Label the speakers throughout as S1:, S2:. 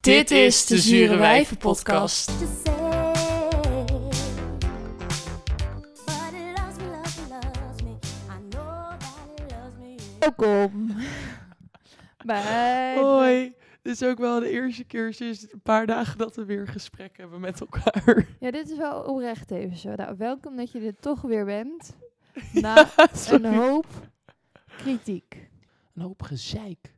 S1: Dit is de Zure Wijven podcast.
S2: to say. But it loves me, loves me, loves me. I know that it loves me.
S3: Welkom bij
S1: Hoi. Dit is ook wel de eerste keer sinds een paar dagen dat we weer een gesprek hebben met elkaar.
S3: Ja, dit is wel oprecht even zo. Nou, welkom dat je er toch weer bent. Na
S1: Ja, sorry.
S3: een hoop kritiek.
S1: Een hoop gezeik.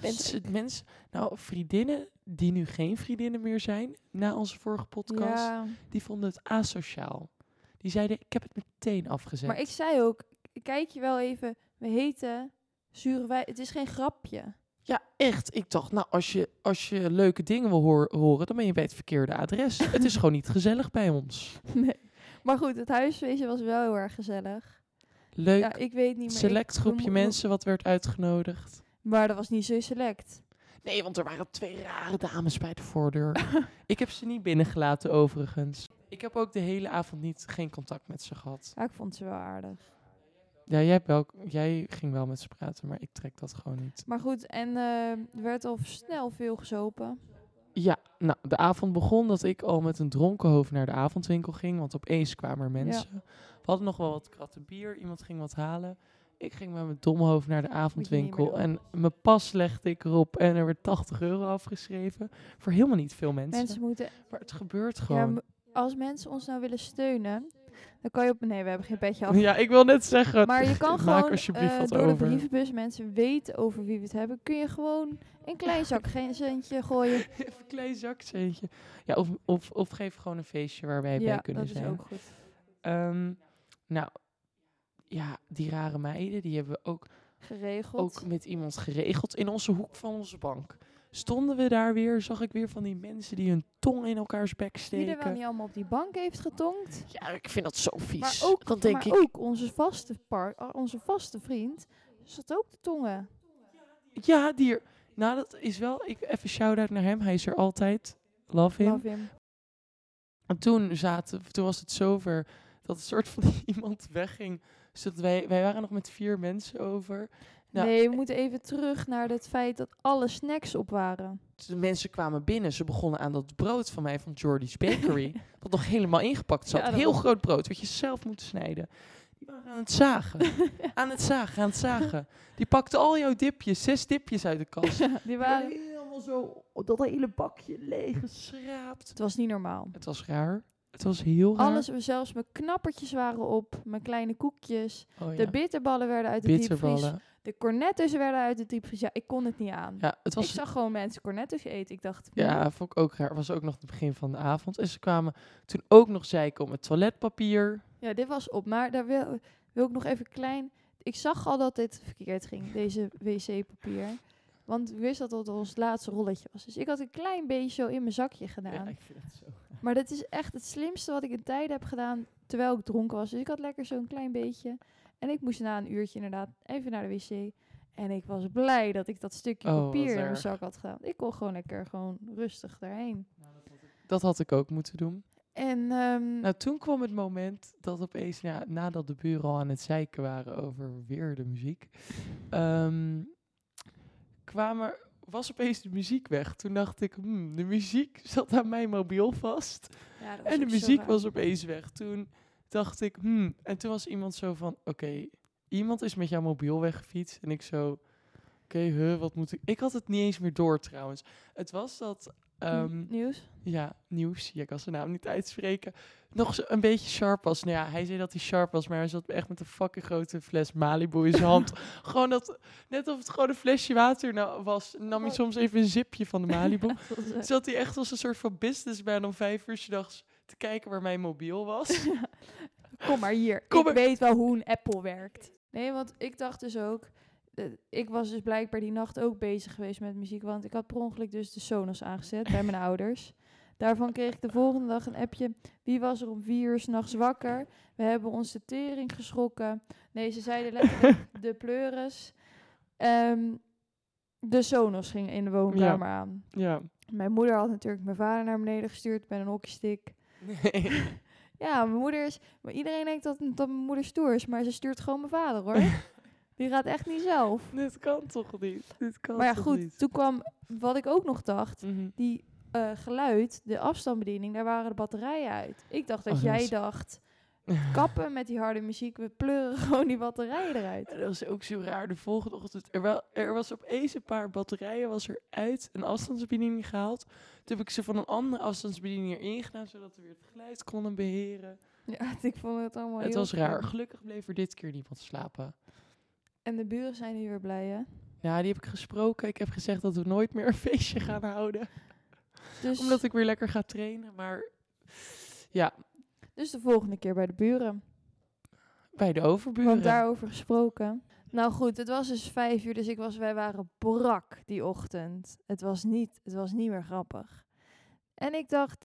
S3: Ben-
S1: S- het Mensen, nou, vriendinnen die nu geen vriendinnen meer zijn, na onze vorige podcast,
S3: Ja,
S1: die vonden het asociaal. Die zeiden, ik heb het meteen afgezet.
S3: maar ik zei ook, kijk je wel even, we heten zure wij. Het is geen grapje.
S1: Ja, echt. Ik dacht, nou, als je, als je leuke dingen wil hoor- horen, dan ben je bij het verkeerde adres. het is gewoon niet gezellig bij ons.
S3: Nee. Maar goed, het huiswezen was wel heel erg gezellig.
S1: Leuk.
S3: Ja, ik weet niet meer.
S1: select groepje mensen wat werd uitgenodigd.
S3: Maar dat was niet zo select.
S1: Nee, want er waren twee rare dames bij de voordeur. ik heb ze niet binnengelaten overigens. Ik heb ook de hele avond niet, geen contact met ze gehad.
S3: Ja, ik vond ze wel aardig.
S1: Ja, jij, hebt wel, jij ging wel met ze praten, maar ik trek dat gewoon niet.
S3: Maar goed, en eh, er werd al snel veel gezopen.
S1: Ja, nou, de avond begon dat ik al met een dronken hoofd naar de avondwinkel ging. Want opeens kwamen er mensen. We hadden nog wel wat kratten bier. Iemand ging wat halen. Ik ging met mijn domme hoofd naar de avondwinkel.
S3: doen.
S1: En mijn pas legde ik erop. En er werd 80 euro afgeschreven. Voor helemaal niet veel mensen.
S3: Mensen moeten
S1: Maar het gebeurt
S3: Ja,
S1: gewoon.
S3: m- als mensen ons nou willen steunen, dan kan je op... Nee, we hebben geen petje af.
S1: Ja, ik wil net zeggen.
S3: Maar je kan
S1: maak
S3: gewoon
S1: alsjeblieft
S3: eh,
S1: wat
S3: door
S1: over.
S3: de brievenbus mensen weten over wie we het hebben. Kun je gewoon een klein zak, geen centje gooien.
S1: Even een klein zakcentje. Ja, of, of, of geef gewoon een feestje waar wij bij
S3: ja,
S1: kunnen
S3: dat
S1: zijn.
S3: is ook goed.
S1: Ehm, nou, ja, die rare meiden, die hebben we ook,
S3: Geregeld.
S1: ook met iemand geregeld in onze hoek van onze bank. Stonden we daar weer, zag ik weer van die mensen die hun tong in elkaars bek
S3: Wie er wel
S1: steken.
S3: niet allemaal op die bank heeft getonkt.
S1: Ja, ik vind dat zo vies.
S3: Maar ook,
S1: Dan denk
S3: maar
S1: ik,
S3: ook onze, vaste par, ah, onze vaste vriend zat ook de tongen.
S1: ja, die er- Nou, dat is wel... Ik, even shout-out naar hem, hij is er altijd. Love him.
S3: Love him.
S1: En toen, zaten, toen was het zover dat een soort van iemand wegging. Zodat wij, wij waren nog met vier mensen over. Nou,
S3: nee, we moeten even terug naar het feit dat alle snacks op waren.
S1: De mensen kwamen binnen. Ze begonnen aan dat brood van mij van Jordy's Bakery. dat nog helemaal ingepakt zat.
S3: Ja, dat
S1: Heel
S3: was-
S1: groot brood, wat je zelf moet snijden. Die waren aan het zagen. aan het zagen, aan het zagen. Die pakte al jouw dipjes, zes dipjes uit de kast.
S3: Die waren...
S1: helemaal zo dat hele bakje leeg geschraapt.
S3: Het was niet normaal.
S1: Het was raar. Het was heel raar.
S3: Alles, zelfs mijn knappertjes waren op, mijn kleine koekjes.
S1: oh, ja.
S3: De bitterballen werden uit de diepvries.
S1: bitterballen.
S3: De cornetto's werden uit de diepvries. Ja, ik kon het niet aan.
S1: Ja, het was
S3: Ik zag gewoon mensen cornetto's eten. Ik dacht,
S1: Ja, vond ik ook raar. Was ook nog het begin van de avond. En ze kwamen toen ook nog zeiken om het toiletpapier.
S3: "Hm, ja, dit was op. Maar daar wil, wil ik nog even klein... Ik zag al dat dit verkeerd ging, deze wc-papier. Want ik wist dat het ons laatste rolletje was. Dus ik had een klein beetje zo in mijn zakje gedaan.
S1: vind het zo.
S3: Maar dat is echt het slimste wat ik in tijden heb gedaan terwijl ik dronken was. Dus ik had lekker zo'n klein beetje. En ik moest na een uurtje inderdaad even naar de wc. En ik was blij dat ik dat stukje
S1: Oh, wat
S3: papier in mijn
S1: erg.
S3: zak had gedaan. Ik kon gewoon lekker gewoon rustig daarheen.
S1: Dat had ik ook moeten doen.
S3: En ehm,
S1: Nou, toen kwam het moment dat opeens, ja, nadat de buren al aan het zeiken waren over weer de muziek, ehm, kwamen, was opeens de muziek weg. Toen dacht ik, hmm, de muziek zat aan mijn mobiel vast.
S3: ja, dat was
S1: En de
S3: ook zo
S1: muziek
S3: raar.
S1: was opeens weg. Toen dacht ik, hmm. En toen was iemand zo van, oké, iemand is met jouw mobiel weggefietst. En ik zo, oké, huh, wat moet ik... Ik had het niet eens meer door trouwens. Het was dat, ehm,
S3: nieuws.
S1: ja, nieuws, ja, ik kan zijn naam niet uitspreken, nog zo een beetje sharp was. Nou ja, hij zei dat hij sharp was, maar hij zat echt met een fucking grote fles Malibu in zijn hand. gewoon dat, net of het gewoon een flesje water nou was, nam hij
S3: Wat?
S1: soms even een zipje van de Malibu.
S3: Dat was, eh,
S1: Zat hij echt als een soort van businessman om vijf uur 's nachts te kijken waar mijn mobiel was.
S3: Kom maar hier.
S1: Kom
S3: ik
S1: maar.
S3: weet wel hoe een Apple werkt. Nee, want ik dacht dus ook. eh, Ik was dus blijkbaar die nacht ook bezig geweest met muziek. Want ik had per ongeluk dus de Sonos aangezet bij mijn ouders. Daarvan kreeg ik de volgende dag een appje. Wie was er om vier uur s'nachts wakker? We hebben ons de tering geschrokken. Nee, ze zeiden letterlijk de pleuris. Ehm, de Sonos ging in de woonkamer aan.
S1: ja.
S3: Mijn moeder had natuurlijk mijn vader naar beneden gestuurd met een hockeystick.
S1: Nee.
S3: Ja, mijn moeder is. Maar iedereen denkt dat, dat mijn moeder stoer is, maar ze stuurt gewoon mijn vader hoor. Die gaat echt niet zelf.
S1: Dit kan toch niet? Dit kan
S3: Maar ja,
S1: toch niet?
S3: goed, toen kwam wat ik ook nog dacht.
S1: Mhm.
S3: Die eh, geluid, de afstandsbediening, daar waren de batterijen uit. Ik dacht dat
S1: Oh, dat
S3: jij
S1: is-
S3: dacht, kappen met die harde muziek, we pleuren gewoon die batterijen eruit.
S1: Ja, Dat was ook zo raar. De volgende ochtend, er, wel, er was opeens een paar batterijen was er uit, een afstandsbediening gehaald. Toen heb ik ze van een andere afstandsbediening erin gedaan, zodat we weer het geluid konden beheren.
S3: Ja, ik vond het allemaal
S1: het
S3: Oh, heel
S1: was raar.
S3: gek.
S1: Gelukkig bleef er dit keer niemand slapen.
S3: En de buren zijn hier weer blij, hè?
S1: Ja, die heb ik gesproken. Ik heb gezegd dat we nooit meer een feestje gaan houden.
S3: Dus,
S1: Omdat ik weer lekker ga trainen. Maar ja,
S3: dus de volgende keer bij de buren.
S1: bij de overburen.
S3: Want daarover gesproken. Nou goed, het was dus vijf uur, dus ik was, wij waren brak die ochtend. Het was niet, het was niet meer grappig. En ik dacht,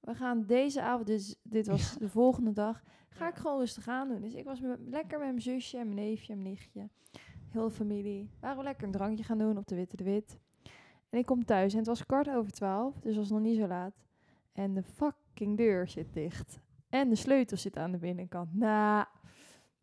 S3: we gaan deze avond, dus dit was de volgende dag, ga ik gewoon rustig aan doen. Dus ik was met- lekker met mijn zusje en mijn neefje en mijn nichtje. Heel de familie. Waren we lekker een drankje gaan doen op de Witte de Wit. En ik kom thuis en het was kwart over twaalf, dus was nog niet zo laat. En de fucking deur zit dicht. En de sleutel zit aan de binnenkant. Nou,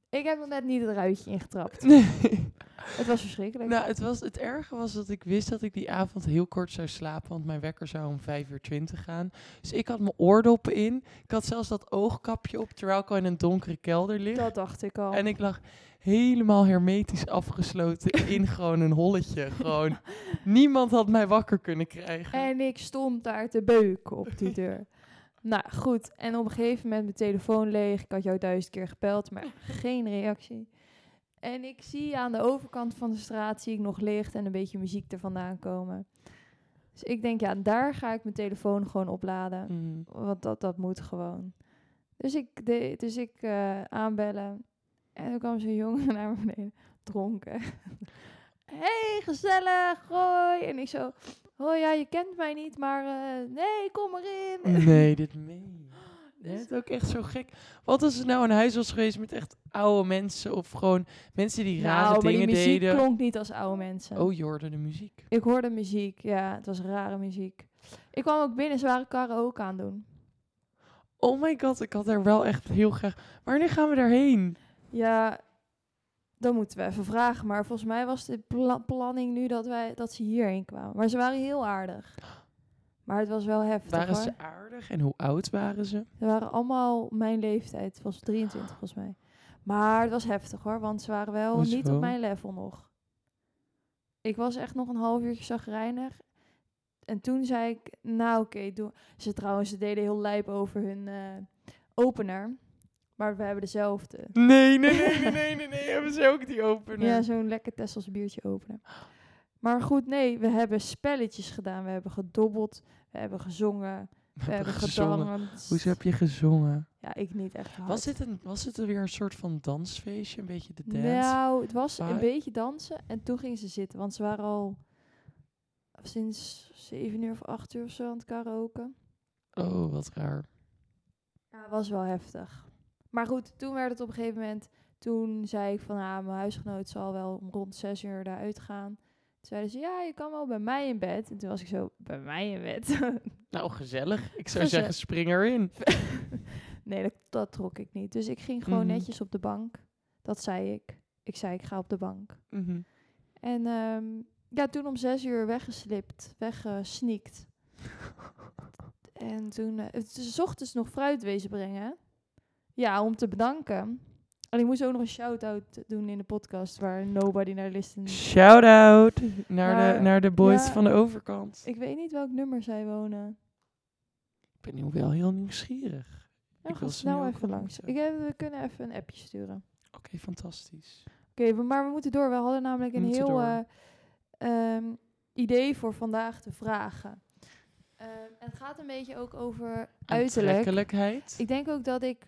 S3: ik heb nog net niet het ruitje ingetrapt.
S1: Nee.
S3: Het was verschrikkelijk.
S1: Nou, het, was, het erge was dat ik wist dat ik die avond heel kort zou slapen, want mijn wekker zou om 5 uur 20 gaan. Dus ik had mijn oordoppen in. Ik had zelfs dat oogkapje op, terwijl ik al in een donkere kelder lig.
S3: dat dacht ik al.
S1: En ik lag helemaal hermetisch afgesloten in gewoon een holletje. Gewoon, niemand had mij wakker kunnen krijgen.
S3: En ik stond daar te beuken op die deur. nou goed, en op een gegeven moment mijn telefoon leeg. Ik had jou duizend keer gebeld, maar geen reactie. En ik zie aan de overkant van de straat zie ik nog licht en een beetje muziek er vandaan komen. Dus ik denk, ja, daar ga ik mijn telefoon gewoon opladen.
S1: Mm.
S3: Want dat, dat moet gewoon. Dus ik, deed, dus ik eh, aanbellen. En toen kwam zo'n jongen naar me beneden. Dronken. hey, gezellig. Hoi. En ik zo... Hoi, ja, je kent mij niet, maar... eh, nee, kom erin.
S1: Nee, dit meen je.
S3: Dus-
S1: Dit is ook echt zo gek. Wat als het nou een huis was geweest met echt oude mensen of gewoon mensen die rare
S3: nou, maar
S1: dingen
S3: die muziek
S1: deden.
S3: klonk niet als oude mensen.
S1: Oh, je hoorde de muziek.
S3: Ik hoorde muziek. Ja, het was rare muziek. Ik kwam ook binnen. Ze waren karaoke aan doen.
S1: Oh my god, ik had er wel echt heel graag. Wanneer gaan we daarheen?
S3: Ja, dan moeten we even vragen. Maar volgens mij was de pla- planning nu dat, wij, dat ze hierheen kwamen. Maar ze waren heel aardig. Maar het was wel heftig
S1: Waren
S3: hoor.
S1: ze aardig en hoe oud waren ze?
S3: Ze waren allemaal mijn leeftijd. Het was 23 volgens mij. Maar het was heftig hoor, want ze waren wel
S1: Hoezo?
S3: niet op mijn level nog. Ik was echt nog een half uurtje zagrijnig. En toen zei ik, nou oké, doe. Ze trouwens, ze deden heel lijp over hun eh, opener. Maar we hebben dezelfde.
S1: Nee, nee, nee, nee, nee, nee, nee. Hebben ze ook die opener?
S3: Ja, zo'n lekker Tessels biertje openen. Maar goed, nee, we hebben spelletjes gedaan. We hebben gedobbeld, we hebben gezongen, we, hebben
S1: gezongen.
S3: gedanst.
S1: Hoezo heb je gezongen?
S3: Ja, ik niet echt hard.
S1: Was dit, een, was dit weer een soort van dansfeestje? Een beetje de dance?
S3: Nou, het was een
S1: vibe?
S3: beetje dansen en toen gingen ze zitten. Want ze waren al sinds 7 uur of 8 uur of zo aan het karaoke.
S1: Oh, wat raar.
S3: Ja, was wel heftig. Maar goed, toen werd het op een gegeven moment... Toen zei ik van, ah, mijn huisgenoot zal wel om rond 6 uur daaruit gaan. Toen zeiden ze, ja, je kan wel bij mij in bed. En toen was ik zo, bij mij in bed?
S1: Nou, gezellig. Ik zou
S3: Gezellig.
S1: zeggen, spring erin.
S3: nee, dat, dat trok ik niet. Dus ik ging gewoon
S1: Mhm.
S3: netjes op de bank. Dat zei ik. Ik zei, ik ga op de bank.
S1: Mhm.
S3: En ehm, ja, toen om zes uur weggeslipt, weggesneakt. en toen, eh, het is 's ochtends nog fruit wezen brengen. hè? Ja, om te bedanken. En ik moest ook nog een shout-out doen in de podcast waar nobody naar listened.
S1: Shout out naar,
S3: Maar,
S1: de, naar de boys
S3: Nou, ja.
S1: van de overkant.
S3: Ik weet niet welk nummer zij wonen.
S1: Ik ben nu wel heel nieuwsgierig.
S3: Nou,
S1: Ik
S3: ga
S1: wil ze
S3: snel
S1: nu ook
S3: even
S1: wel
S3: langs. Ik,
S1: ontmoeten.
S3: heb- we kunnen even een appje sturen.
S1: Oké, fantastisch.
S3: Oké, we- maar we moeten door. We hadden namelijk
S1: We
S3: een
S1: moeten
S3: heel
S1: door.
S3: eh, ehm, idee voor vandaag te vragen. Ehm, en het gaat een beetje ook over uiterlijk.
S1: Aantrekkelijkheid.
S3: Ik denk ook dat ik,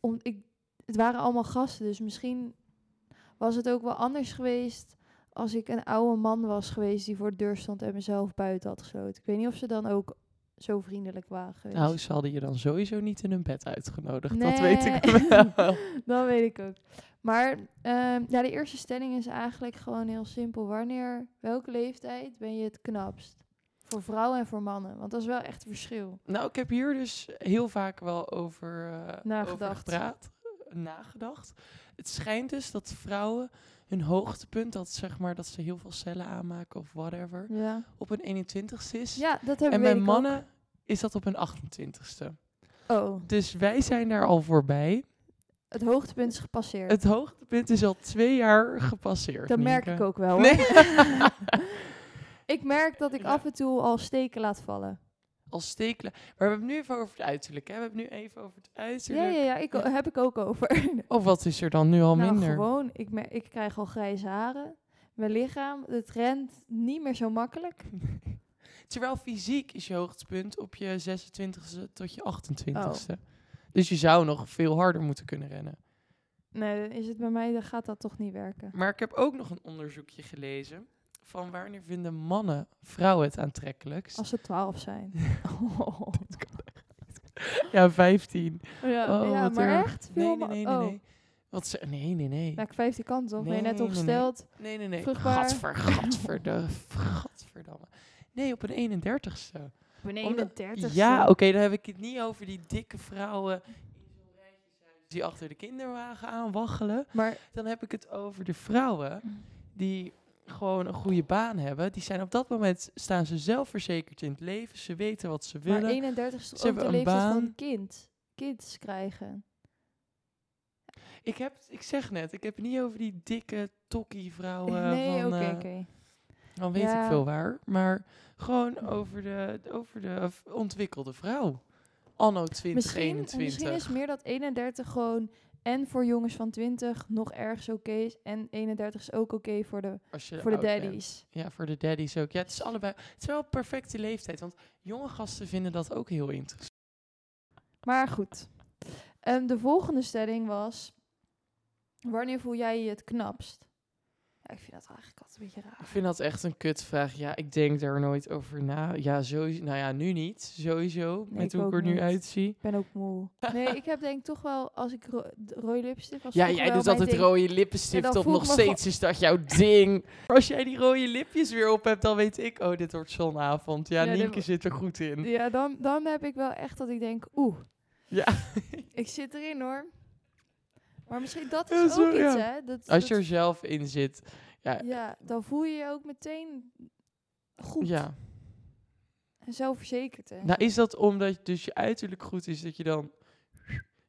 S3: om, ik... Het waren allemaal gasten, dus misschien was het ook wel anders geweest... als ik een oude man was geweest die voor de deur stond... en mezelf buiten had gesloten. Ik weet niet of ze dan ook zo vriendelijk waren geweest.
S1: Nou, ze hadden je dan sowieso niet in hun bed uitgenodigd. Dat
S3: Nee.
S1: weet ik wel.
S3: Dat weet ik ook. Maar ehm, ja, de eerste stelling is eigenlijk gewoon heel simpel. Wanneer, welke leeftijd ben je het knapst? Voor vrouwen en voor mannen. Want dat is wel echt een verschil.
S1: nou, ik heb hier dus heel vaak wel over, eh, over
S3: Nagedacht.
S1: gepraat, eh, nagedacht. Het schijnt dus dat vrouwen hun hoogtepunt, dat, zeg maar, dat ze heel veel cellen aanmaken of whatever,
S3: Ja,
S1: op een 21ste is.
S3: ja dat hebben
S1: en
S3: we
S1: bij mannen is dat op een 28ste.
S3: Oh,
S1: Dus wij zijn daar al voorbij.
S3: het hoogtepunt is gepasseerd.
S1: Het hoogtepunt is al twee jaar gepasseerd.
S3: dat merk
S1: Nienke.
S3: ik ook wel. hoor.
S1: Nee.
S3: ik merk dat ik af en toe al steken laat vallen.
S1: Als stekelen. Maar we hebben het nu even over het uiterlijk. Hè? We hebben het nu even over het
S3: Ja,
S1: uiterlijk.
S3: ja, ja, ik,
S1: Ja.
S3: heb ik ook over.
S1: Of wat is er dan nu al
S3: nou,
S1: minder?
S3: gewoon, ik, mer- ik krijg al grijze haren. Mijn lichaam, het rent niet meer zo makkelijk.
S1: Terwijl fysiek is je hoogtepunt op je 26e tot je 28e.
S3: Oh.
S1: Dus je zou nog veel harder moeten kunnen rennen.
S3: Nee, dan is het bij mij, dan gaat dat toch niet werken.
S1: Maar ik heb ook nog een onderzoekje gelezen. Van wanneer vinden mannen vrouwen het aantrekkelijkst?
S3: Als ze twaalf zijn. Oh.
S1: Ja, 15.
S3: Ja,
S1: Oh,
S3: ja
S1: wat
S3: maar
S1: erg.
S3: echt?
S1: Nee,
S3: Veel
S1: nee,
S3: ma-
S1: nee, nee.
S3: oh.
S1: nee. Wat ze, nee, nee, nee.
S3: Nou, ik 15 kan toch? ben je net
S1: Nee,
S3: ongesteld?
S1: Nee, nee, nee.
S3: vruchtbaar.
S1: Gadver, gadver, de, gadverdamme. Nee, op een 31ste. Omdat- Ja, oké, dan heb ik het niet over die dikke vrouwen in zo'n rijtje zijn die achter de kinderwagen aan waggelen.
S3: Maar
S1: Dan heb ik het over de
S3: Mm.
S1: vrouwen die gewoon een goede baan hebben. Die zijn op dat moment, staan ze zelfverzekerd in het leven. Ze weten wat ze
S3: Maar
S1: willen.
S3: 31 is toch
S1: Ze
S3: ook de
S1: hebben een
S3: leeftijd van
S1: baan.
S3: een kind. Kids krijgen.
S1: ik, heb, ik zeg net, ik heb het niet over die dikke tokkie vrouwen.
S3: nee,
S1: van,
S3: oké,
S1: eh,
S3: oké.
S1: Dan weet ik
S3: Ja.
S1: veel waar. Maar gewoon over de, over de v- ontwikkelde vrouw. Anno
S3: Misschien,
S1: 2021.
S3: misschien is meer dat 31 gewoon en voor jongens van 20 nog ergens oké is. En 31 is ook oké voor de,
S1: als je
S3: voor de
S1: oud bent.
S3: daddies.
S1: Ja, voor de daddies ook. Ja, het is allebei. Het is wel een perfecte leeftijd. Want jonge gasten vinden dat ook heel interessant.
S3: Maar goed. Ehm, de volgende stelling was... Wanneer voel jij je het knapst? Ja, ik vind dat eigenlijk altijd een beetje
S1: Ik
S3: raar.
S1: vind dat echt een kutvraag. Ja, ik denk daar nooit over na. Ja, sowieso. Nou ja, nu niet. Sowieso.
S3: Nee,
S1: met
S3: ik
S1: hoe ik
S3: ook
S1: er nu
S3: niet.
S1: uitzie.
S3: Ik ben ook moe. Nee, ik heb denk ik toch wel... Als ik ro de rode lipstick... Was
S1: Ja,
S3: toch
S1: jij
S3: wel
S1: doet
S3: mijn
S1: altijd
S3: ding.
S1: rode
S3: En
S1: lippenstift
S3: dan
S1: op.
S3: voel ik
S1: Nog
S3: me
S1: steeds is dat jouw ding. Als jij die rode lipjes weer op hebt, dan weet ik... Oh, dit wordt zo'n avond. Ja,
S3: Ja, dit
S1: Nienke
S3: wo-
S1: zit er goed in.
S3: Ja, dan, dan heb ik wel echt dat ik denk... Oeh,
S1: Ja.
S3: Ik zit erin hoor. Maar misschien dat
S1: Ja,
S3: is ook
S1: sorry,
S3: iets,
S1: ja.
S3: hè? Dat,
S1: Als je
S3: dat-
S1: er zelf in zit. Eh,
S3: ja, dan voel je je ook meteen goed
S1: Ja.
S3: en zelfverzekerd. Hè?
S1: Nou, is dat omdat dus je uiterlijk goed is, dat je dan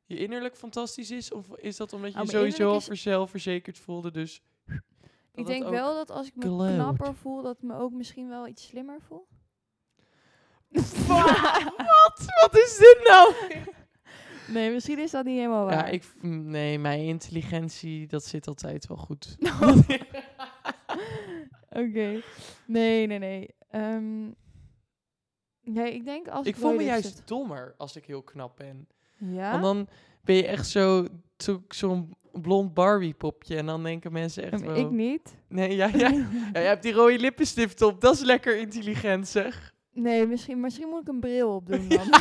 S1: je innerlijk fantastisch is? Of is dat omdat je
S3: Nou,
S1: je
S3: mijn
S1: sowieso al
S3: innerlijk
S1: voor zelfverzekerd voelde? Dus
S3: ik
S1: dat
S3: denk
S1: ook-
S3: wel dat als ik me
S1: glowed.
S3: knapper voel, dat ik me ook misschien wel iets slimmer voel.
S1: Wa- Wat? Wat is dit nou?
S3: Nee, misschien is dat niet helemaal waar.
S1: Ja, ik, v- nee, mijn intelligentie, dat zit altijd wel goed.
S3: Oké. Nee, nee, nee. Ehm, nee, ik denk als ik...
S1: ik voel me
S3: rode
S1: juist
S3: lipstick-
S1: dommer als ik heel knap ben.
S3: Ja?
S1: Want dan ben je echt zo, zo- zo'n blond Barbie-popje. En dan denken mensen echt wel...
S3: Ehm, Ik niet.
S1: Nee, ja, ja, ja, jij hebt die rode lippenstift op. Dat is lekker intelligent, zeg.
S3: Nee, misschien, misschien moet ik een bril opdoen dan.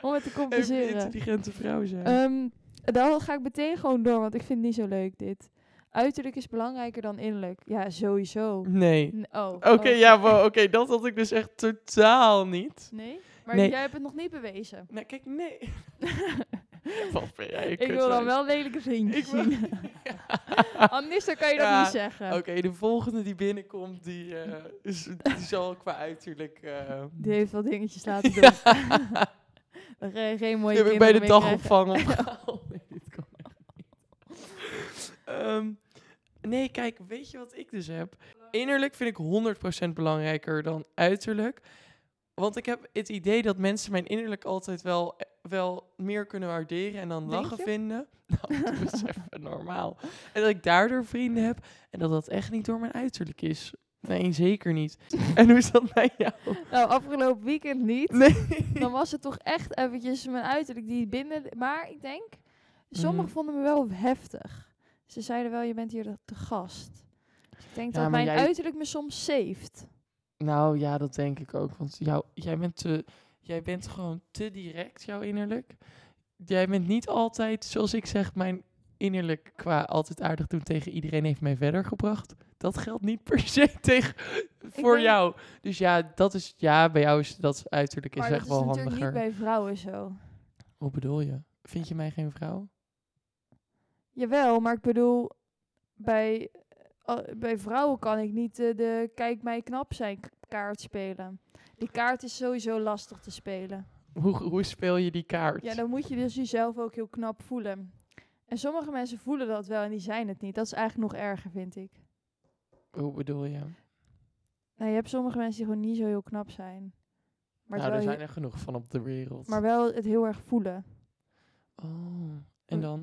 S3: Om het te
S1: Even een
S3: compenseren.
S1: intelligente vrouw zijn.
S3: Ehm, dan ga ik meteen gewoon door, want ik vind het niet zo leuk dit. Uiterlijk is belangrijker dan innerlijk. Ja, sowieso.
S1: nee.
S3: N- Oh.
S1: Oké, ja, wow, oké, dat had ik dus echt totaal niet.
S3: Nee? Maar
S1: Nee.
S3: jij hebt het nog niet bewezen.
S1: Nou, kijk, nee. Wat ben jij? een
S3: Ik, wil dan
S1: kutwijs.
S3: wel lelijke vriendjes
S1: Ik wil-
S3: zien. Anders dan kan je
S1: Ja,
S3: dat niet zeggen.
S1: Oké, de volgende die binnenkomt, die, eh, is, die zal qua uiterlijk... eh,
S3: Die heeft wel dingetjes laten doen. Dan ga je geen mooie
S1: die heb ik bij
S3: kinderen Oh,
S1: de
S3: meer
S1: dagopvang opgehaald. Oh, nee, dit kan echt niet. Ehm, nee, kijk, weet je wat ik dus heb? Innerlijk vind ik 100% belangrijker dan uiterlijk. Want ik heb het idee dat mensen mijn innerlijk altijd wel, wel meer kunnen waarderen en dan
S3: Denk
S1: lachen
S3: je?
S1: vinden. Nou, dat is even normaal. En dat ik daardoor vrienden heb en dat dat echt niet door mijn uiterlijk is. Nee, zeker niet. En hoe is dat bij jou?
S3: krijgen. Nou, afgelopen weekend niet.
S1: Nee.
S3: Dan was het toch echt eventjes mijn uiterlijk die binnen... Maar ik denk, sommigen
S1: Mhm.
S3: vonden me wel heftig. Ze zeiden wel, je bent hier de, de gast. Dus ik denk
S1: Ja, maar
S3: dat mijn
S1: jij-
S3: uiterlijk me soms saved.
S1: Nou ja, dat denk ik ook. Want jou, jij, bent te, jij bent gewoon te direct, jouw innerlijk. Jij bent niet altijd, zoals ik zeg, mijn innerlijk qua altijd aardig doen tegen iedereen heeft mij verder gebracht. Dat geldt niet per se tegen, voor
S3: denk-
S1: jou. Dus ja, dat is, ja, bij jou is dat uiterlijk is
S3: maar
S1: echt
S3: dat
S1: wel
S3: is natuurlijk
S1: handiger.
S3: niet bij vrouwen zo.
S1: Hoe bedoel je? Vind je mij geen vrouw?
S3: Jawel, maar ik bedoel... bij, al- bij vrouwen kan ik niet eh, de kijk mij knap zijn k- kaart spelen. Die kaart is sowieso lastig te spelen.
S1: Hoe, hoe speel je die kaart?
S3: Ja, dan moet je dus jezelf ook heel knap voelen. En sommige mensen voelen dat wel en die zijn het niet. Dat is eigenlijk nog erger, vind ik.
S1: Hoe bedoel je?
S3: Nou, je hebt sommige mensen die gewoon niet zo heel knap zijn. Maar,
S1: nou, er
S3: wel,
S1: zijn er genoeg van op de wereld.
S3: maar wel het heel erg voelen.
S1: Oh, en dan?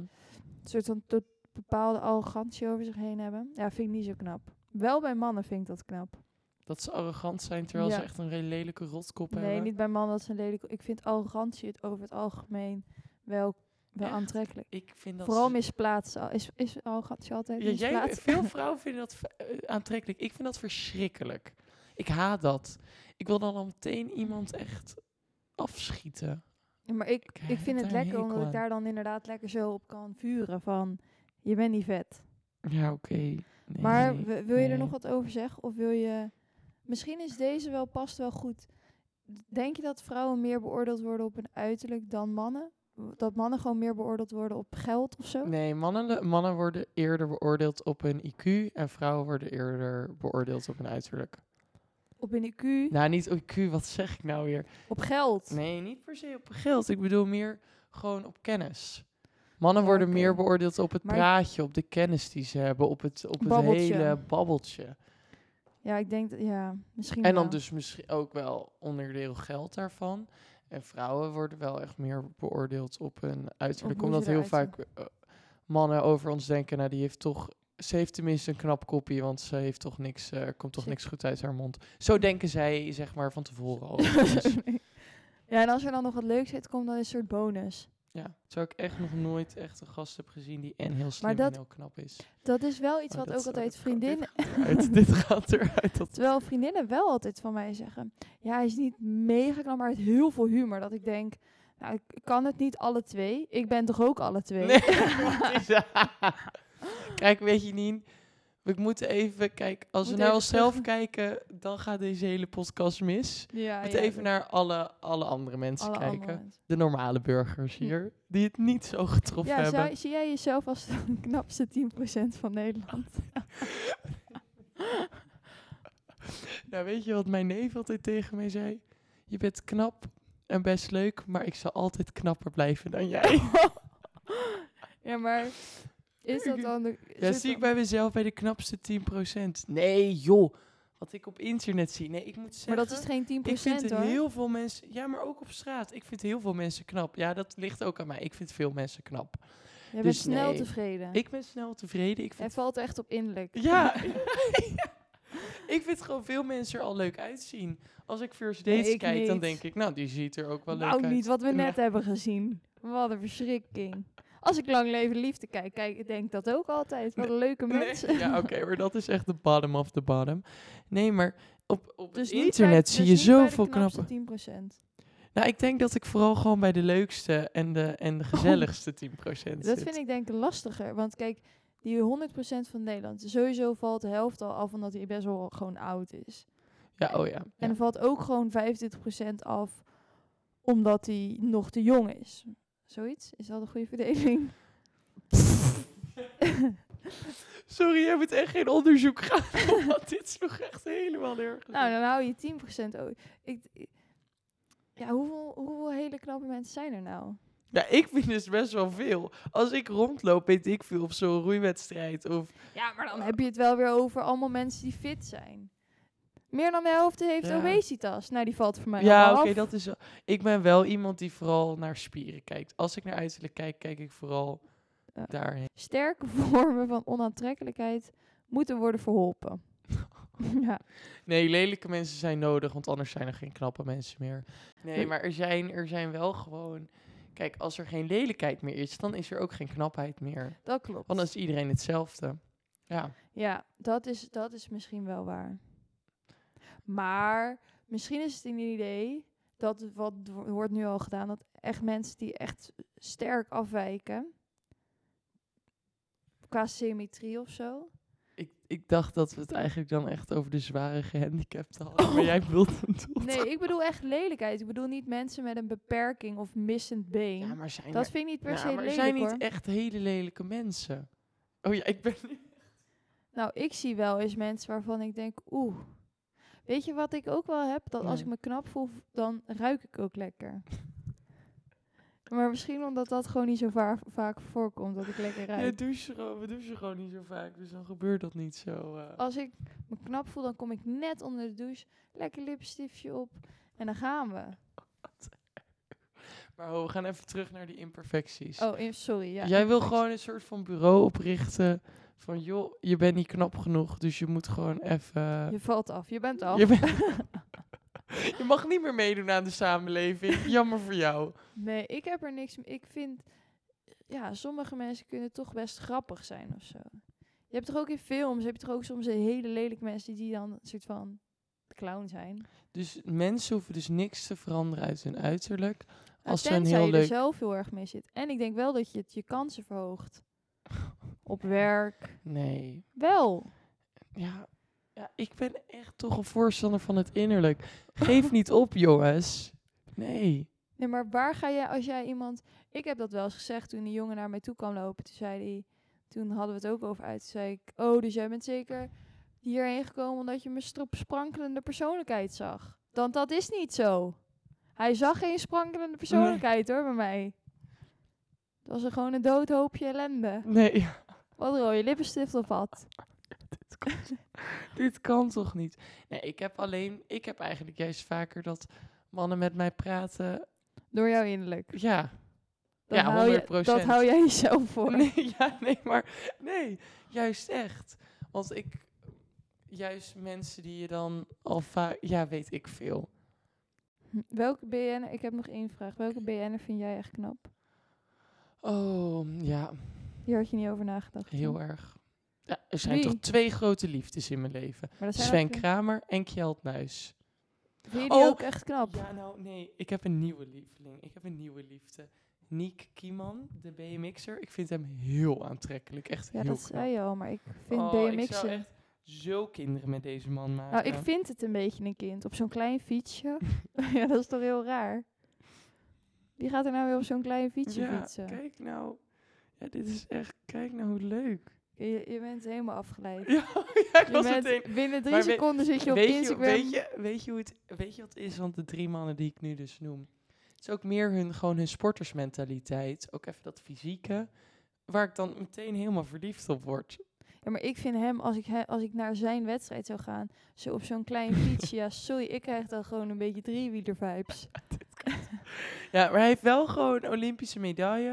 S3: Een soort van tot bepaalde arrogantie over zich heen hebben. Ja, vind ik niet zo knap. Wel bij mannen vind ik dat knap.
S1: Dat ze arrogant zijn terwijl ze
S3: Ja.
S1: echt een hele lelijke rotkop
S3: Nee,
S1: hebben.
S3: niet bij mannen dat ze lelijk... Ik vind arrogantie het over het algemeen wel, wel
S1: Echt?
S3: aantrekkelijk.
S1: Ik vind dat
S3: Vooral
S1: ze-
S3: misplaatst. al- Is, is arrogantie altijd
S1: Ja, jij-
S3: misplaatst?
S1: veel vrouwen vinden dat v- eh, aantrekkelijk. Ik vind dat verschrikkelijk. Ik haat dat. Ik wil dan al meteen iemand echt afschieten.
S3: Ja, maar ik,
S1: Ik
S3: ik
S1: heb
S3: vind het
S1: daar een
S3: lekker omdat
S1: hekel
S3: ik daar dan inderdaad lekker zo op kan vuren van... Je bent niet vet.
S1: Ja, oké. Nee,
S3: maar
S1: nee.
S3: wi- wil je er
S1: nee.
S3: nog wat over zeggen? Of wil je... Misschien is deze wel past wel goed. Denk je dat vrouwen meer beoordeeld worden op hun uiterlijk dan mannen? Dat mannen gewoon meer beoordeeld worden op geld of zo?
S1: Nee, mannen, mannen worden eerder beoordeeld op hun IQ en vrouwen worden eerder beoordeeld op hun uiterlijk.
S3: Op hun IQ?
S1: Nou, niet IQ, wat zeg ik nou weer?
S3: Op geld?
S1: Nee, niet per se op geld. Ik bedoel meer gewoon op kennis. Mannen
S3: Ja,
S1: worden
S3: Ah, oké.
S1: meer beoordeeld op het
S3: Maar-
S1: praatje, op de kennis die ze hebben, op het, op het
S3: Babbeltje.
S1: hele babbeltje.
S3: Ja, ik denk dat... Ja, misschien
S1: En dan
S3: wel.
S1: dus misschien ook wel onderdeel geld daarvan. En vrouwen worden wel echt meer beoordeeld op hun uiterlijk.
S3: hoe
S1: Omdat
S3: ze
S1: heel
S3: eruit
S1: vaak eh, mannen over ons denken, nou die heeft toch. Ze heeft tenminste een knap kopje, want ze heeft toch niks, eh, komt toch
S3: Ze-
S1: niks goed uit haar mond. Zo denken zij, zeg maar, van tevoren al. Dus over ons.
S3: Ja, en als er dan nog wat leuks uit komt, dan is het een soort bonus.
S1: ja, terwijl ik echt nog nooit echt een gast heb gezien die en heel slim
S3: dat-
S1: en heel knap is.
S3: Dat is wel iets
S1: Oh,
S3: wat
S1: dat
S3: ook
S1: is- oh,
S3: altijd
S1: dit gaat- dit
S3: vriendinnen...
S1: gaat eruit. Dit gaat eruit. Dat
S3: Terwijl vriendinnen wel altijd van mij zeggen: Ja, hij is niet mega knap, maar hij heeft heel veel humor. Dat ik denk: Nou, ik kan het niet alle twee. Ik ben toch ook alle twee?
S1: Nee, precies. Kijk, weet je niet. We moeten even, kijk, als we
S3: Moet
S1: naar
S3: even
S1: onszelf
S3: terug-
S1: kijken, dan gaat deze hele podcast mis.
S3: Ja,
S1: We moeten
S3: ja,
S1: even
S3: dat-
S1: naar alle, alle andere mensen
S3: alle andere
S1: kijken.
S3: mensen.
S1: De normale burgers hier, die het niet zo getroffen
S3: Ja,
S1: hebben.
S3: zou- zie jij jezelf als de knapste 10% van Nederland?
S1: Nou, weet je wat mijn neef altijd tegen mij zei? Je bent knap en best leuk, maar ik zal altijd knapper blijven dan jij.
S3: ja, maar is dat dan. De,
S1: Ja,
S3: soort
S1: zie ik
S3: van-
S1: bij mezelf bij de knapste 10%. Nee, joh. Wat ik op internet zie. Nee, ik moet zeggen...
S3: maar dat is geen 10%
S1: Ik vind
S3: hoor.
S1: heel veel mensen, ja, maar ook op straat. Ik vind heel veel mensen knap. Ja, dat ligt ook aan mij. Ik vind veel mensen knap.
S3: Je bent
S1: dus
S3: snel
S1: nee.
S3: tevreden.
S1: Ik ben snel tevreden. Ik
S3: Hij
S1: vind,
S3: valt echt op innerlijk.
S1: ja, ik vind gewoon veel mensen er al leuk uitzien. Als ik first
S3: Nee,
S1: dates
S3: ik
S1: kijk, dan
S3: niet.
S1: denk ik, nou, die ziet er ook wel leuk
S3: Nou,
S1: uit.
S3: niet wat we
S1: Nee.
S3: net hebben gezien. Wat een verschrikking. Als ik Lang Leven Liefde kijk, kijk, ik denk dat ook altijd. Wat een leuke
S1: Nee,
S3: mensen.
S1: Ja, oké, maar dat is echt de bottom of the bottom. Nee, maar op, op
S3: Dus
S1: het
S3: niet
S1: internet
S3: bij-
S1: zie
S3: dus
S1: je
S3: niet bij de
S1: zoveel
S3: knapste
S1: knappe. Nou, ik denk dat ik vooral gewoon bij de leukste en de, en de gezelligste 10% zit.
S3: 10%. Oh. Dat vind ik denk ik lastiger. Want kijk, die 100% van Nederland, sowieso valt de helft al af omdat hij best wel gewoon oud is.
S1: Ja, oh ja.
S3: En
S1: ja.
S3: er valt ook gewoon 25% af omdat hij nog te jong is. Zoiets? Is dat een goede verdeling?
S1: Sorry, jij moet echt geen onderzoek gaan. Want dit sloeg echt helemaal nergens.
S3: Nou,
S1: op.
S3: dan hou je 10% over. Ik, ik- ja, hoeveel, hoeveel hele knappe mensen zijn er nou?
S1: ja, ik vind dus best wel veel. Als ik rondloop, weet ik veel op zo'n roeiwedstrijd. Of
S3: Ja, maar dan heb je het wel weer over allemaal mensen die fit zijn. Meer dan de helft heeft
S1: Ja.
S3: obesitas. Nou, die valt voor mij
S1: ja,
S3: al
S1: oké,
S3: af.
S1: dat is. wel- Ik ben wel iemand die vooral naar spieren kijkt. Als ik naar uiterlijk kijk, kijk ik vooral
S3: Ja.
S1: daarheen.
S3: Sterke vormen van onaantrekkelijkheid moeten worden verholpen. ja.
S1: Nee, lelijke mensen zijn nodig, want anders zijn er geen knappe mensen meer. Nee,
S3: Nee.
S1: maar er zijn, er zijn wel gewoon. Kijk, als er geen lelijkheid meer is, dan is er ook geen knapheid meer.
S3: Dat klopt.
S1: Want dan is iedereen hetzelfde. Ja.
S3: Ja, dat is, dat is misschien wel waar. Maar misschien is het een idee dat het wat wo- wordt nu al gedaan, dat echt mensen die echt sterk afwijken qua symmetrie of zo.
S1: Ik, ik dacht dat we het eigenlijk dan echt over de zware gehandicapten hadden. Maar jij wilt hem toch?
S3: Nee, ik bedoel echt lelijkheid. Ik bedoel niet mensen met een beperking of missend been.
S1: Ja, maar zijn
S3: dat
S1: er,
S3: vind ik niet per
S1: Ja,
S3: se
S1: maar er
S3: lelijk
S1: zijn niet
S3: hoor.
S1: echt hele lelijke mensen. Oh ja, ik ben nu...
S3: Nou, ik zie wel eens mensen waarvan ik denk, oeh. Weet je wat ik ook wel heb? Dat als
S1: Nou.
S3: ik me knap voel, v- dan ruik ik ook lekker. maar misschien omdat dat gewoon niet zo vaar- vaak voorkomt, dat ik lekker ruik.
S1: Ja, douchen, gewoon- we douchen gewoon niet zo vaak, dus dan gebeurt dat niet zo. eh.
S3: Als ik me knap voel, dan kom ik net onder de douche. Lekker lipstiftje op. En dan gaan we.
S1: Maar ho, we gaan even terug naar die imperfecties.
S3: Oh, eh, sorry. Ja,
S1: Jij wil
S3: imperfectie.
S1: gewoon een soort van bureau oprichten van joh, je bent niet knap genoeg, dus je moet gewoon even...
S3: Je valt af. Je bent af.
S1: Je, bent- je mag niet meer meedoen aan de samenleving, jammer voor jou.
S3: Nee, ik heb er niks mee. Ik vind, eh, ja, sommige mensen kunnen toch best grappig zijn of zo. Je hebt toch ook in films, heb je toch ook soms hele lelijke mensen die dan een soort van clown zijn. Nou,
S1: Dus mensen hoeven dus niks te veranderen uit hun uiterlijk. Als ze een
S3: Tenzij
S1: heel
S3: je
S1: leuk-
S3: er zelf heel erg mee zit. En ik denk wel dat je het je kansen verhoogt. Op werk.
S1: Nee,
S3: Wel.
S1: ja, ja ik ben echt toch een voorstander van het innerlijk. Geef niet op, jongens. Nee.
S3: Nee, maar waar ga je als jij iemand... Ik heb dat wel eens gezegd toen die jongen naar mij toe kwam lopen. Toen zei hij... Toen hadden we het ook over uit. Toen zei ik... Oh, dus jij bent zeker hierheen gekomen omdat je mijn strop- sprankelende persoonlijkheid zag. Want dat is niet zo. Hij zag geen sprankelende persoonlijkheid hoor bij mij. Het was er gewoon een doodhoopje ellende.
S1: Nee,
S3: Wat rode lippenstift op had.
S1: Dit kan toch niet? Nee, ik heb alleen, ik heb eigenlijk juist vaker dat mannen met mij praten.
S3: Door jou innerlijk.
S1: Ja,
S3: Dat
S1: Ja,
S3: hou Je,
S1: 100%.
S3: dat hou jij jezelf voor.
S1: nee, ja, nee, maar nee, juist echt. Want ik, juist mensen die je dan al vaak, ja, weet ik veel.
S3: Hm, Welke BN'er... Ik heb nog één vraag. Welke BN'er vind jij echt knap?
S1: Oh, ja,
S3: Hier had je niet over nagedacht. hè?
S1: heel erg. Ja, er zijn
S3: Hm. Wie?
S1: toch twee grote liefdes in mijn leven.
S3: Maar dat zijn
S1: Sven
S3: ook-
S1: Kramer en Kjeld Nuis.
S3: Vind je die
S1: Oh.
S3: ook echt knap?
S1: Ja, nou nee, ik heb een nieuwe lieveling. Ik heb een nieuwe liefde. Niek Kieman, de BMX'er. Ik vind hem heel aantrekkelijk. Echt
S3: Ja,
S1: heel
S3: dat
S1: knap.
S3: zei je al, maar ik vind
S1: Oh,
S3: BMX'en...
S1: Ik zou echt zo kinderen met deze man maken.
S3: Nou, ik vind het een beetje een kind. Op zo'n klein fietsje. ja, dat is toch heel raar? Wie gaat er nou weer op zo'n klein fietsje
S1: ja,
S3: fietsen?
S1: kijk nou. Ja, dit is echt... Kijk nou hoe leuk.
S3: Je, je bent helemaal afgeleid.
S1: Ja, ja, ik
S3: Je
S1: was
S3: bent,
S1: meteen...
S3: binnen drie
S1: Maar weet-
S3: seconden zit je op
S1: weet, je,
S3: Instagram.
S1: weet, je, weet, je hoe het, weet je wat het is? Want de drie mannen die ik nu dus noem... Het is ook meer hun, gewoon hun sportersmentaliteit. Ook even dat fysieke. Waar ik dan meteen helemaal verliefd op word.
S3: Ja, maar ik vind hem, als ik, he- als ik naar zijn wedstrijd zou gaan, zo op zo'n klein fietsje, ja, sorry, ik krijg dan gewoon een beetje driewieler vibes.
S1: Ja, maar hij heeft wel gewoon een Olympische medaille.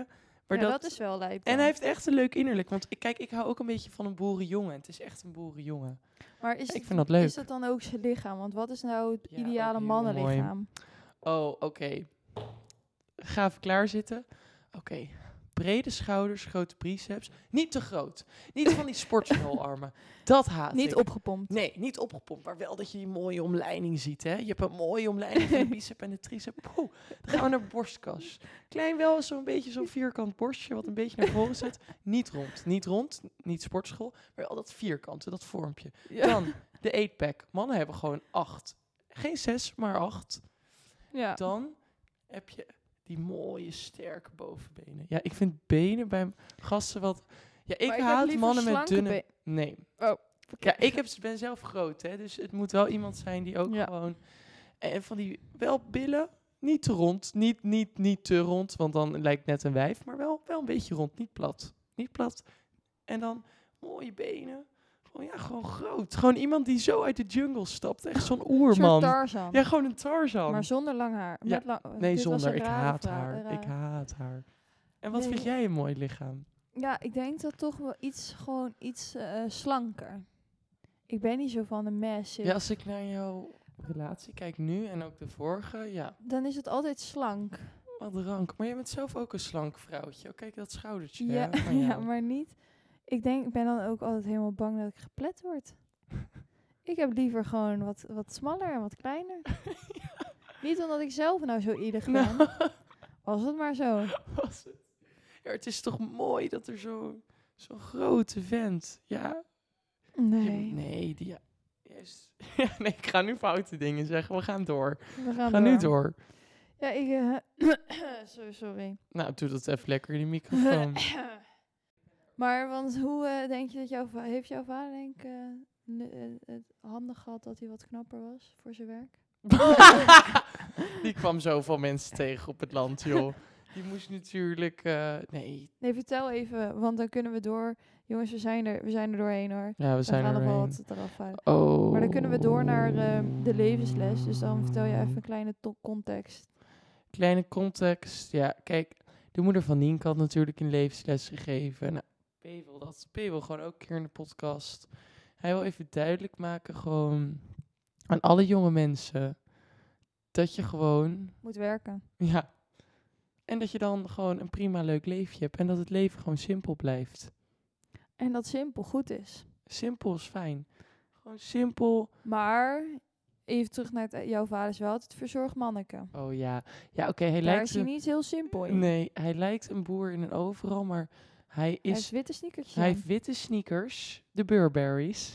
S1: Maar
S3: Maar ja, dat, is wel lijp.
S1: En
S3: dan.
S1: hij heeft echt een leuk innerlijk. Want ik, kijk, ik hou ook een beetje van een boerenjongen. Het is echt een boerenjongen.
S3: maar is,
S1: Ik
S3: Dus het-
S1: vind dat leuk.
S3: is dat dan ook zijn lichaam? Want wat is nou het
S1: Ja, ook
S3: ideale
S1: heel mooi.
S3: mannenlichaam?
S1: Oh, oké. Ga even klaarzitten. Oké. Brede schouders, grote biceps. Niet te groot. Niet van die sportsnolarmen. Dat haat
S3: Niet
S1: ik.
S3: opgepompt.
S1: Nee, niet opgepompt. Maar wel dat je die mooie omleiding ziet, hè. Je hebt een mooie omleiding van de bicep en de tricep. Poeh, dan gaan we naar borstkas. Klein wel, zo'n beetje zo'n vierkant borstje... wat een beetje naar voren zit. Niet rond. Niet rond, niet sportschool. Maar wel dat vierkante, dat vormpje.
S3: Ja.
S1: Dan de 8-pack. Mannen hebben gewoon acht. Geen zes, maar acht.
S3: ja.
S1: Dan heb je die mooie, sterke bovenbenen. Ja, ik vind benen bij m- gasten wat... Ja, ik
S3: Maar heb
S1: haat
S3: liever
S1: mannen met
S3: slanke
S1: dunne...
S3: been-
S1: Nee.
S3: Oh,
S1: Ja, ik heb, ben zelf groot, hè. Dus het moet wel iemand zijn die ook
S3: Ja.
S1: gewoon... En van die wel billen, niet te rond. Niet, niet, niet te rond, want dan lijkt net een wijf. Maar wel, wel een beetje rond, niet plat. Niet plat. En dan mooie benen. Gewoon, ja, gewoon groot. Gewoon iemand die zo uit de jungle stapt. Echt zo'n
S3: Een soort
S1: oerman.
S3: Tarzan.
S1: Ja, gewoon een Tarzan.
S3: Maar zonder lang haar.
S1: Ja,
S3: Met lang,
S1: Nee,
S3: Eh, dit was
S1: zonder. Ik
S3: een rare
S1: haat
S3: vraag, eh,
S1: haar.
S3: een
S1: Ik
S3: rare-
S1: haat haar. En wat
S3: Nee.
S1: vind jij een mooi lichaam?
S3: Ja, ik denk dat toch wel iets, gewoon iets eh, slanker. Ik ben niet zo van de massive.
S1: Ja, als ik naar jouw relatie kijk nu en ook de vorige, ja,
S3: Dan is het altijd slank.
S1: wat rank. Maar jij bent zelf ook een slank vrouwtje. Oh, kijk dat schoudertje.
S3: Ja,
S1: hè, van
S3: ja,
S1: jou.
S3: maar niet. Ik denk, ik ben dan ook altijd helemaal bang dat ik geplet word. ik heb liever gewoon wat, wat smaller en wat kleiner. Niet omdat ik zelf nou zo ieder ben.
S1: Nou,
S3: Was het maar zo.
S1: was het. Ja, het is toch mooi dat er zo- zo'n grote vent. Ja, je-
S3: Nee,
S1: nee die. Ja, juist. Ja, nee, ik ga nu foute dingen zeggen. We gaan door.
S3: we gaan,
S1: We gaan nu door.
S3: Ja, ik... eh, sorry, sorry.
S1: Nou, doe dat even lekker in die microfoon.
S3: Maar want hoe eh, denk je dat jouw va- heeft jouw vader denk ik eh, ne- eh, het handig gehad dat hij wat knapper was voor zijn werk?
S1: Die kwam zoveel mensen tegen op het land, joh. Die moest natuurlijk... eh, nee,
S3: Nee, vertel even, want dan kunnen we door. Jongens, we zijn er, we zijn er doorheen hoor.
S1: ja, we
S3: We
S1: zijn
S3: gaan
S1: er
S3: nog wel
S1: doorheen.
S3: wat eraf halen.
S1: Oh.
S3: Maar dan kunnen we door naar eh, de levensles. Dus dan vertel je even een kleine to- context.
S1: Kleine context. Ja, kijk, de moeder van Nienke had natuurlijk een levensles gegeven. Nou, P wil dat. P wil gewoon ook een keer in de podcast. Hij wil even duidelijk maken gewoon aan alle jonge mensen dat je gewoon,
S3: Moet werken.
S1: ja, en dat je dan gewoon een prima leuk leefje hebt en dat het leven gewoon simpel blijft.
S3: En dat simpel goed is.
S1: Simpel is fijn. Gewoon simpel.
S3: Maar even terug naar het- eh, jouw vader is wel altijd verzorgd manneke.
S1: Oh ja. Ja, oké, hij
S3: Daar
S1: lijkt
S3: is hij
S1: een,
S3: niet heel simpel in.
S1: Nee, hij lijkt een boer in een overal, maar hij
S3: Hij
S1: is
S3: heeft witte sneakertjes
S1: Hij
S3: aan.
S1: heeft witte sneakers, de Burberry's.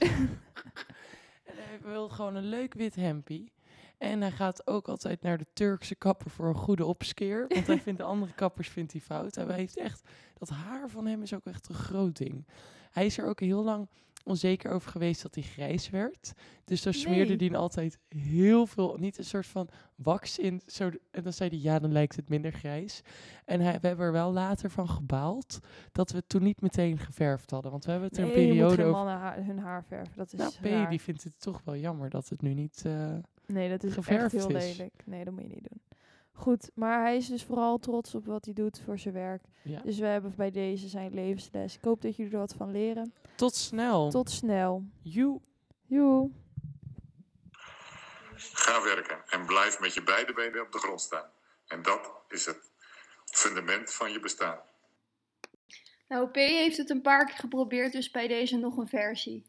S1: en hij wil gewoon een leuk wit hempie. En hij gaat ook altijd naar de Turkse kapper voor een goede opskeer. Want hij vindt de andere kappers vindt hij fout. Hij heeft echt, dat haar van hem is ook echt een groot ding. Hij is er ook heel lang onzeker over geweest dat hij grijs werd. Dus daar smeerde
S3: Nee.
S1: hij altijd heel veel, niet een soort van wax in. Zo, en dan zei hij, ja, dan lijkt het minder grijs. En hij, we hebben er wel later van gebaald dat we het toen niet meteen geverfd hadden. Want we hebben het er
S3: Nee,
S1: een
S3: je moet
S1: periode
S3: geen
S1: over...
S3: mannen haar- hun haar verven. Dat is
S1: Nou,
S3: raar.
S1: P, die vindt het toch wel jammer dat het nu niet... eh,
S3: Nee, dat is echt
S1: geverfd
S3: heel
S1: is.
S3: lelijk. Nee, dat moet je niet doen. Goed, maar hij is dus vooral trots op wat hij doet voor zijn werk.
S1: ja.
S3: Dus we hebben bij deze zijn levensles. Ik hoop dat jullie er wat van leren.
S1: Tot snel.
S3: Tot snel.
S1: You.
S3: Joe.
S4: Ga werken en blijf met je beide benen op de grond staan. En dat is het fundament van je bestaan.
S5: Nou, P heeft het een paar keer geprobeerd, dus bij deze nog een versie.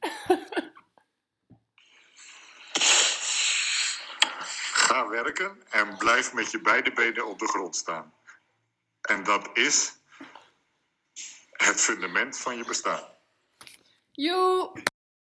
S4: Ga werken en blijf met je beide benen op de grond staan. En dat is het fundament van je bestaan.
S5: Joe!